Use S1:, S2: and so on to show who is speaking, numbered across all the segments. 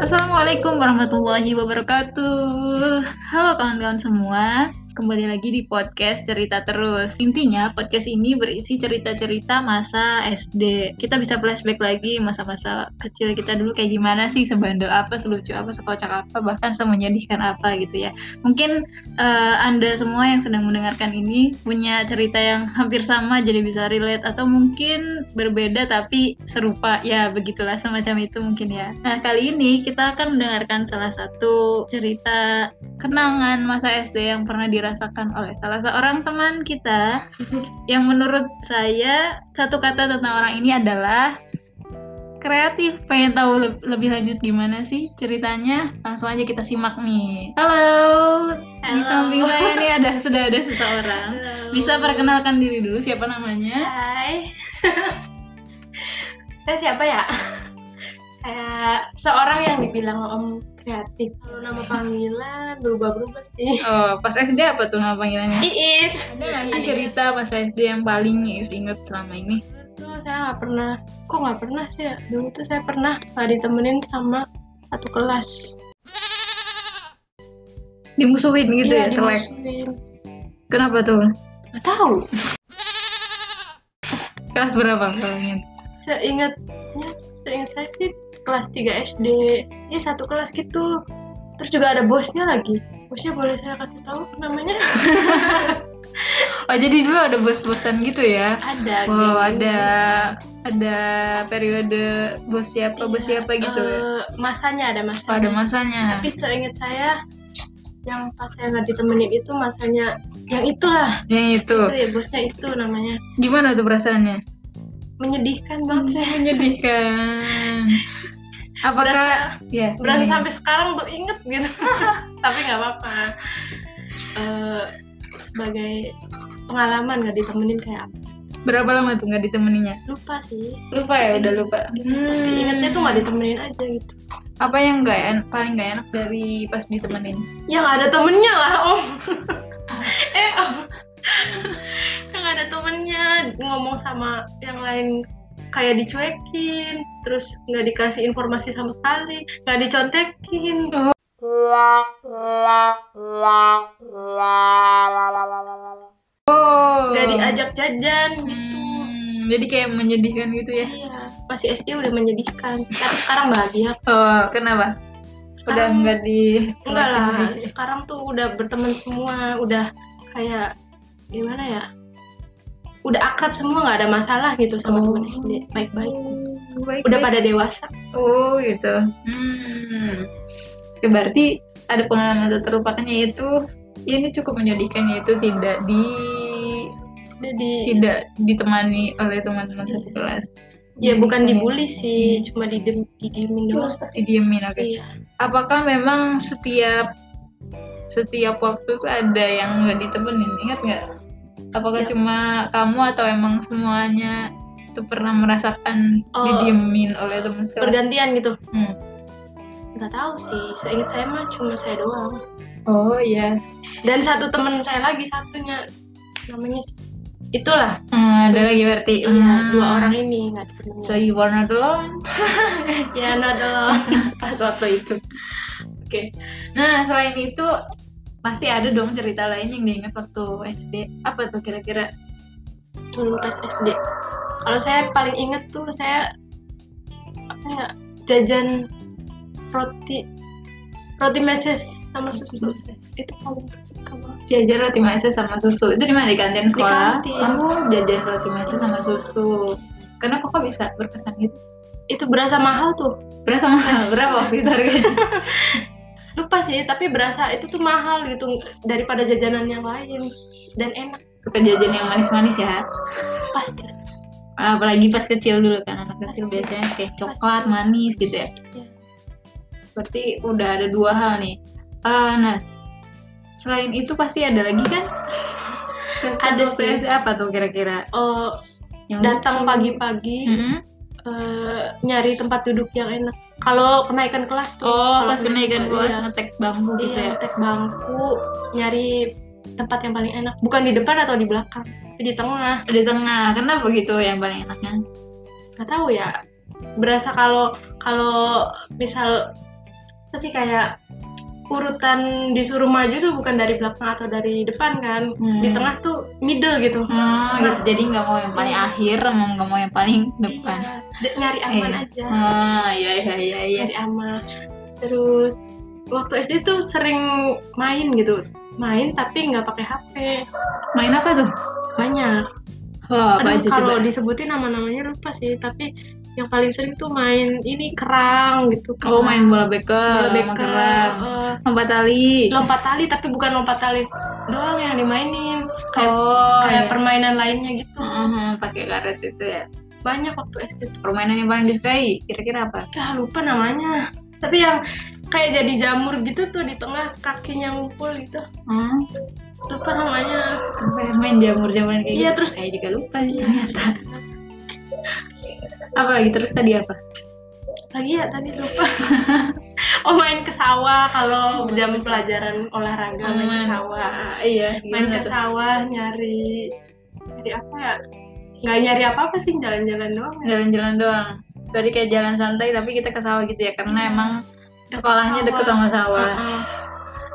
S1: Assalamualaikum warahmatullahi wabarakatuh. Halo kawan-kawan semua. Kembali lagi di podcast Cerita Terus. Intinya podcast ini berisi cerita-cerita masa SD. Kita bisa flashback lagi masa-masa kecil kita dulu kayak gimana sih, sebandel apa, selucu apa, sekocak apa, bahkan semenyedihkan apa gitu ya. Mungkin eh, Anda semua yang sedang mendengarkan ini punya cerita yang hampir sama jadi bisa relate atau mungkin berbeda tapi serupa. Ya, begitulah semacam itu mungkin ya. Nah, kali ini kita akan mendengarkan salah satu cerita kenangan masa SD yang pernah dirasakan oleh salah seorang teman kita yang menurut saya satu kata tentang orang ini adalah kreatif. Pengen tahu le- lebih lanjut gimana sih ceritanya? Langsung aja kita simak nih. Halo. Di
S2: Halo.
S1: samping saya nih ada sudah ada seseorang.
S2: Halo.
S1: Bisa perkenalkan diri dulu siapa namanya?
S2: Hai. Saya siapa ya? Kayak seorang yang dibilang om kreatif. Kalau nama panggilan berubah-berubah sih.
S1: Oh, pas SD apa tuh nama
S2: Iya.
S1: panggilannya?
S2: Iis.
S1: Ada nggak sih Kan cerita pas SD yang paling Iis inget selama ini?
S2: Dulu tuh saya nggak pernah. Kok nggak pernah sih? ya? Dulu tuh saya pernah nggak ditemenin sama satu kelas.
S1: Dimusuhin gitu ya, selek.
S2: dimusuhin.
S1: Kenapa tuh?
S2: Iya, Nggak tahu.
S1: Kelas berapa kalau ingat?
S2: Seingatnya, seingat saya sih kelas 3 SD. Iya satu kelas gitu. Terus juga ada bosnya lagi. Bosnya boleh saya kasih tahu namanya?
S1: Oh, jadi dulu ada bos-bosan gitu ya?
S2: ada
S1: Wow,
S2: geng.
S1: ada ada periode bos siapa bos
S2: Iya,
S1: siapa gitu. ya?
S2: eh, masanya ada masanya
S1: Pada masanya.
S2: tapi seingat saya yang pas saya nggak ditemenin itu masanya yang itulah
S1: Yang itu.
S2: itu ya bosnya itu namanya
S1: Gimana tuh perasaannya?
S2: menyedihkan banget sih
S1: Menyedihkan. Apakah
S2: berasa
S1: ya?
S2: berasa
S1: ini.
S2: sampai sekarang tuh inget gitu tapi nggak apa-apa Eh, sebagai pengalaman nggak ditemenin kayak apa.
S1: berapa lama tuh nggak ditemeninya?
S2: lupa sih
S1: Lupa ya, udah lupa.
S2: tapi
S1: Hmm.
S2: ingetnya tuh nggak ditemenin aja gitu
S1: Apa yang nggak en- paling nggak enak dari pas ditemenin?
S2: yang Ya, ada temennya lah om eh om yang ada temennya ngomong sama yang lain kayak dicuekin terus nggak dikasih informasi sama sekali nggak dicontekin
S1: Oh.
S2: nggak diajak jajan gitu
S1: Hmm, jadi kayak menyedihkan gitu ya?
S2: iya masih SD udah menyedihkan tapi sekarang bahagia
S1: Oh, kenapa? Udah
S2: Sekarang-
S1: nggak di
S2: Ah, enggak lah sekarang tuh udah berteman semua udah kayak gimana ya udah akrab semua nggak ada masalah gitu sama
S1: Oh.
S2: teman SD baik-baik
S1: Baik,
S2: udah
S1: baik.
S2: pada dewasa
S1: Oh gitu. Hmm. Ya, berarti ada pengalaman tak terlupakannya itu ya ini cukup menyedihkan yaitu tidak di
S2: jadi
S1: tidak ditemani oleh teman-teman satu kelas.
S2: Iya. ya bukan dibully
S1: Hmm.
S2: sih cuma didem didiemin doang
S1: Didiemin oke.
S2: iya
S1: Apakah memang setiap setiap waktu itu ada yang nggak ditemenin? Ingat nggak? Apakah
S2: Ya.
S1: cuma kamu atau emang semuanya itu pernah merasakan
S2: Oh,
S1: didiemin oleh teman sekelas?
S2: bergantian gitu
S1: Hmm.
S2: nggak tahu sih seingat saya mah cuma saya doang
S1: Oh iya.
S2: dan satu teman saya lagi satunya namanya s- itulah
S1: Hmm, ada lagi berarti.
S2: iya
S1: Hmm.
S2: dua orang ini nggak ketemu
S1: So you were not alone.
S2: ya not alone
S1: Pas waktu itu. Oke. Nah selain itu pasti ada dong cerita lain yang diingat waktu SD. Apa tuh kira-kira?
S2: dulu pas SD kalau saya paling inget tuh saya apa ya jajan roti roti meses sama susu itu paling suka banget
S1: Jajan roti meses sama susu. Itu di mana di kantin sekolah?
S2: kantin.
S1: Oh, jajan roti meses sama susu. Kenapa kok bisa berkesan gitu?
S2: itu berasa mahal tuh
S1: Berasa mahal berapa waktu itu gitu harganya?
S2: lupa sih tapi berasa itu tuh mahal gitu daripada jajanan yang lain dan enak
S1: Suka jajan yang manis-manis ya.
S2: pasti
S1: Apalagi pas kecil dulu kan anak kecil
S2: Pasti.
S1: biasanya kayak coklat manis gitu ya.
S2: Iya.
S1: Berarti udah ada dua hal nih. Eh, nah, selain itu pasti ada lagi kan? Kesan
S2: Ada
S1: waktu
S2: sih.
S1: SD apa tuh kira-kira?
S2: Oh,
S1: Yang
S2: datang
S1: lucu?
S2: pagi-pagi
S1: Mm-mm.
S2: eh, nyari tempat duduk yang enak kalau kenaikan kelas tuh
S1: Oh,
S2: kalau
S1: pas kenaikan kelas
S2: iya,
S1: ngetek bambu gitu
S2: iya,
S1: ya.
S2: ngetek bangku nyari tempat yang paling enak bukan di depan atau di belakang tapi di tengah
S1: di tengah kenapa gitu yang paling enaknya
S2: nggak tahu ya berasa kalau kalau misal apa sih kayak urutan disuruh maju tuh bukan dari belakang atau dari depan kan
S1: Hmm.
S2: di tengah Iya. tuh middle gitu
S1: Hmm, gitu. Jadi nggak mau yang paling akhir, mau nggak mau yang paling depan.
S2: Iya, d- nyari aman
S1: Iya.
S2: aja
S1: Ah, iya iya iya iya.
S2: nyari aman terus waktu SD tuh sering main gitu main tapi nggak pakai HP
S1: Main apa tuh?
S2: banyak
S1: Wah, apa
S2: Aduh,
S1: aja
S2: kalau
S1: coba?
S2: disebutin nama-namanya lupa sih tapi yang paling sering tuh main ini kerang gitu
S1: Oh, main bola bekel,
S2: bola
S1: sama
S2: bekel,
S1: kerang,
S2: eh,
S1: lompat tali.
S2: lompat tali tapi bukan lompat tali doang yang dimainin kayak
S1: oh, iya.
S2: kayak permainan lainnya gitu
S1: Mhm, pakai karet itu ya.
S2: banyak waktu SD tuh
S1: Permainan yang paling disukai kira-kira apa?
S2: ah lupa namanya tapi yang kayak jadi jamur gitu tuh di tengah kakinya ngumpul gitu
S1: Hmm,
S2: lupa namanya
S1: apa ya? main jamur-jamuran kayak
S2: Iya,
S1: gitu.
S2: terus- Iya.
S1: saya juga lupa nih ternyata. apa lagi terus tadi apa?
S2: lagi ya tadi lupa oh main ke sawah kalau jam pelajaran olahraga main
S1: Aman.
S2: ke sawah
S1: iya,
S2: main ke sawah nyari nyari apa ya nggak nyari apa apa sih jalan-jalan doang ya.
S1: jalan-jalan doang dari kayak jalan santai tapi kita ke sawah gitu ya
S2: Iya.
S1: karena emang sekolahnya deket sama sawah
S2: Heeh,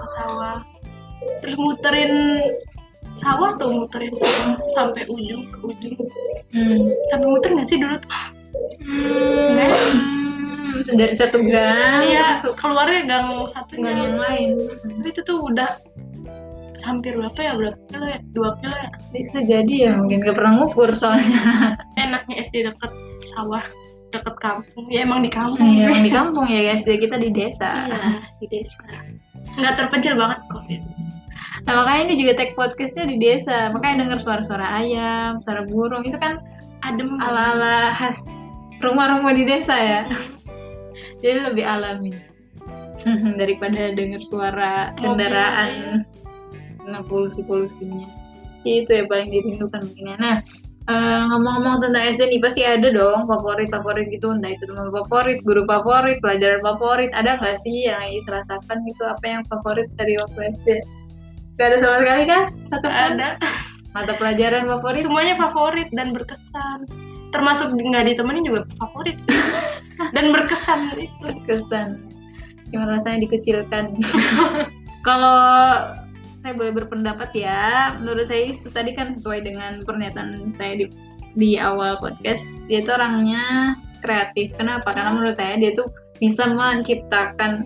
S2: ke sawah terus muterin sawah tuh muterin sawah sampai ujung ke ujung
S1: hmm.
S2: Iya. sampai muter nggak sih dulu tuh
S1: Kan? dari Hmm. satu gang
S2: iya
S1: terus
S2: keluarnya gang
S1: ke
S2: satu
S1: Ah, gang yang lain
S2: tapi itu tuh udah hampir berapa ya berapa kilo ya dua kilo ya
S1: bisa jadi ya mungkin gak pernah ngukur soalnya
S2: enaknya SD deket sawah deket kampung ya emang di kampung
S1: ya,
S2: sih.
S1: emang di kampung ya guys jadi kita di desa
S2: Iya, di desa. Nggak terpencil banget COVID.
S1: nah makanya ini juga tag podcastnya di desa makanya denger suara-suara ayam suara burung itu kan
S2: Adem banget.
S1: ala-ala khas rumah-rumah di desa ya jadi lebih alami daripada dengar suara
S2: Mobil ya.
S1: kendaraan nah polusi polusinya itu ya paling dirindukan mungkin ya nah eh, ngomong-ngomong tentang SD nih pasti ada dong favorit favorit gitu entah itu teman favorit guru favorit pelajaran favorit ada nggak sih yang Ais rasakan gitu apa yang favorit dari waktu SD gak ada sama sekali kan satu pun?
S2: Ada.
S1: mata pelajaran favorit
S2: Semuanya favorit dan berkesan. Termasuk nggak ditemenin juga favorit sih. dan berkesan
S1: Gitu.
S2: itu.
S1: kesan gimana rasanya dikecilkan kalau saya boleh berpendapat ya menurut saya itu tadi kan sesuai dengan pernyataan saya di di awal podcast dia itu orangnya kreatif kenapa karena menurut saya dia tuh bisa menciptakan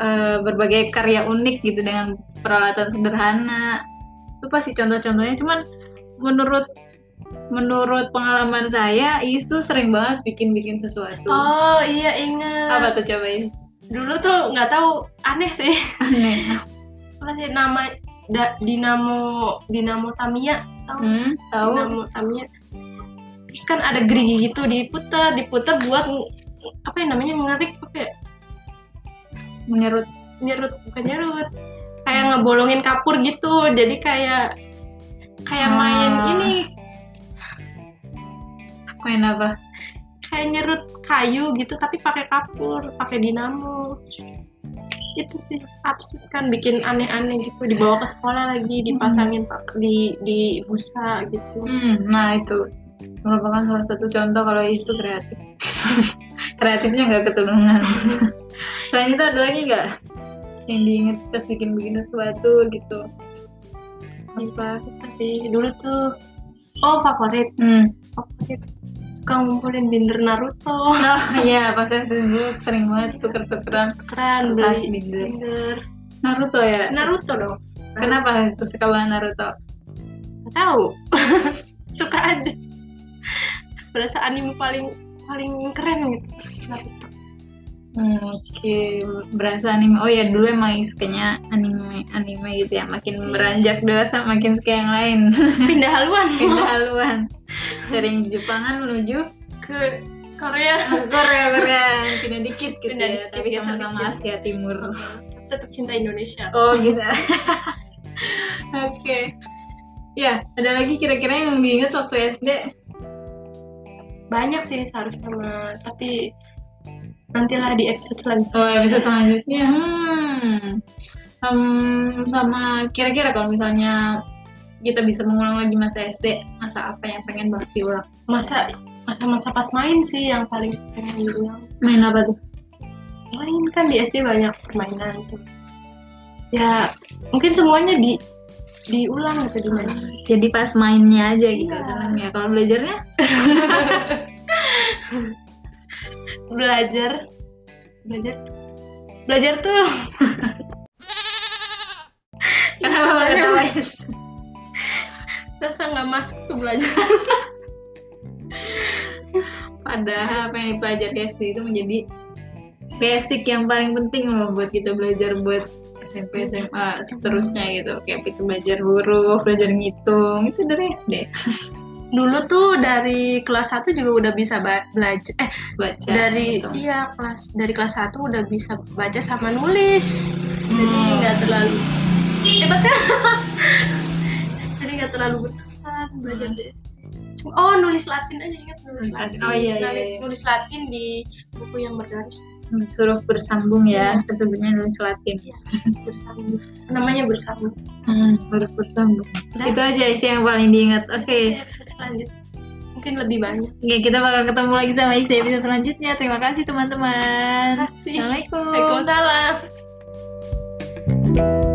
S1: eh, berbagai karya unik gitu dengan peralatan sederhana itu pasti contoh-contohnya cuman menurut menurut pengalaman saya Iis tuh sering banget bikin-bikin sesuatu
S2: Oh iya ingat.
S1: apa tuh cobain
S2: Dulu tuh nggak tahu aneh sih.
S1: aneh
S2: Apa sih nama da- dinamo dinamo Tamiya?
S1: hmm, tahu
S2: Dinamo Tamiya. Terus kan ada gerigi gitu diputer, diputer buat ng- apa yang namanya ngerik apa ya?
S1: menurut
S2: nyerut bukan nyerut kayak ngebolongin kapur gitu jadi kayak kayak
S1: Ah.
S2: main ini
S1: main apa
S2: kayak nyerut kayu gitu tapi pakai kapur pakai dinamo itu sih absurd kan bikin aneh-aneh gitu dibawa ke sekolah lagi dipasangin
S1: Mm-hmm.
S2: pak di di busa gitu
S1: hmm, nah itu merupakan salah satu contoh kalau Iis tuh kreatif kreatifnya nggak ketulungan selain itu ada lagi nggak yang diinget pas bikin-bikin sesuatu gitu apa
S2: apa sih dulu tuh oh favorit
S1: hmm.
S2: favorit suka ngumpulin binder Naruto
S1: oh iya pas saya dulu sering banget tuker-tukeran
S2: keren
S1: kertas
S2: beli
S1: binder
S2: binder
S1: Naruto ya
S2: Naruto dong
S1: kenapa itu suka banget Naruto
S2: Gak tahu. Suka aja. Berasa anime paling paling keren gitu.
S1: Hmm, Oke, berasa anime. Oh ya dulu emang sukanya anime, anime gitu ya. Makin beranjak dewasa, makin suka yang lain.
S2: Pindah haluan
S1: Pindah haluan dari yang Jepangan kan menuju
S2: ke Korea.
S1: Korea Korea, pindah dikit gitu
S2: Pindah
S1: ya.
S2: dikit,
S1: Tapi
S2: ya,
S1: sama-sama
S2: sedikit.
S1: Asia Timur.
S2: Tetap cinta Indonesia.
S1: Oh gitu. Oke. Ya, ada lagi kira-kira yang diingat waktu SD?
S2: Banyak sih seharusnya mah, tapi nantilah di episode selanjutnya.
S1: Oh, episode selanjutnya. Hmm. Hmm, sama kira-kira kalau misalnya kita bisa mengulang lagi masa SD, masa apa yang pengen banget diulang?
S2: Masa masa-masa pas main sih yang paling pengen diulang.
S1: Main apa tuh?
S2: main kan di SD banyak permainan tuh ya mungkin semuanya di diulang gitu dimain
S1: Jadi pas mainnya aja gitu
S2: Iya.
S1: senangnya. Kalau belajarnya
S2: belajar belajar belajar tuh
S1: kenapa
S2: Iya,
S1: banget
S2: soalnya
S1: guys?
S2: rasa nggak masuk tuh belajar
S1: Padahal apa yang dipelajari SD itu menjadi basic yang paling penting loh buat kita belajar buat SMP, SMA, seterusnya gitu. Kayak kita belajar huruf, belajar ngitung, itu dari SD.
S2: dulu tuh dari kelas 1 juga udah bisa ba- belajar eh
S1: Baca,
S2: dari
S1: ngitung.
S2: iya kelas dari kelas 1 udah bisa baca sama nulis jadi
S1: Hmm.
S2: nggak terlalu eh bahkan jadi nggak terlalu berkesan belajar
S1: Hmm.
S2: di SD. Cuma- oh nulis Latin aja ingat nulis
S1: Nulis
S2: Latin
S1: Latin. Oh, iya, iya,
S2: Nulis-
S1: iya.
S2: nulis Latin di buku yang bergaris
S1: nulis huruf bersambung ya tersebutnya nulis latin ya.
S2: Iya, bersambung namanya bersambung
S1: huruf bersambung
S2: Nah.
S1: itu aja sih yang paling diingat oke
S2: Di Iya, episode selanjutnya mungkin lebih banyak
S1: Oke, kita bakal ketemu lagi sama istri episode selanjutnya terima kasih teman-teman
S2: Terima kasih.
S1: assalamualaikum
S2: Waalaikumsalam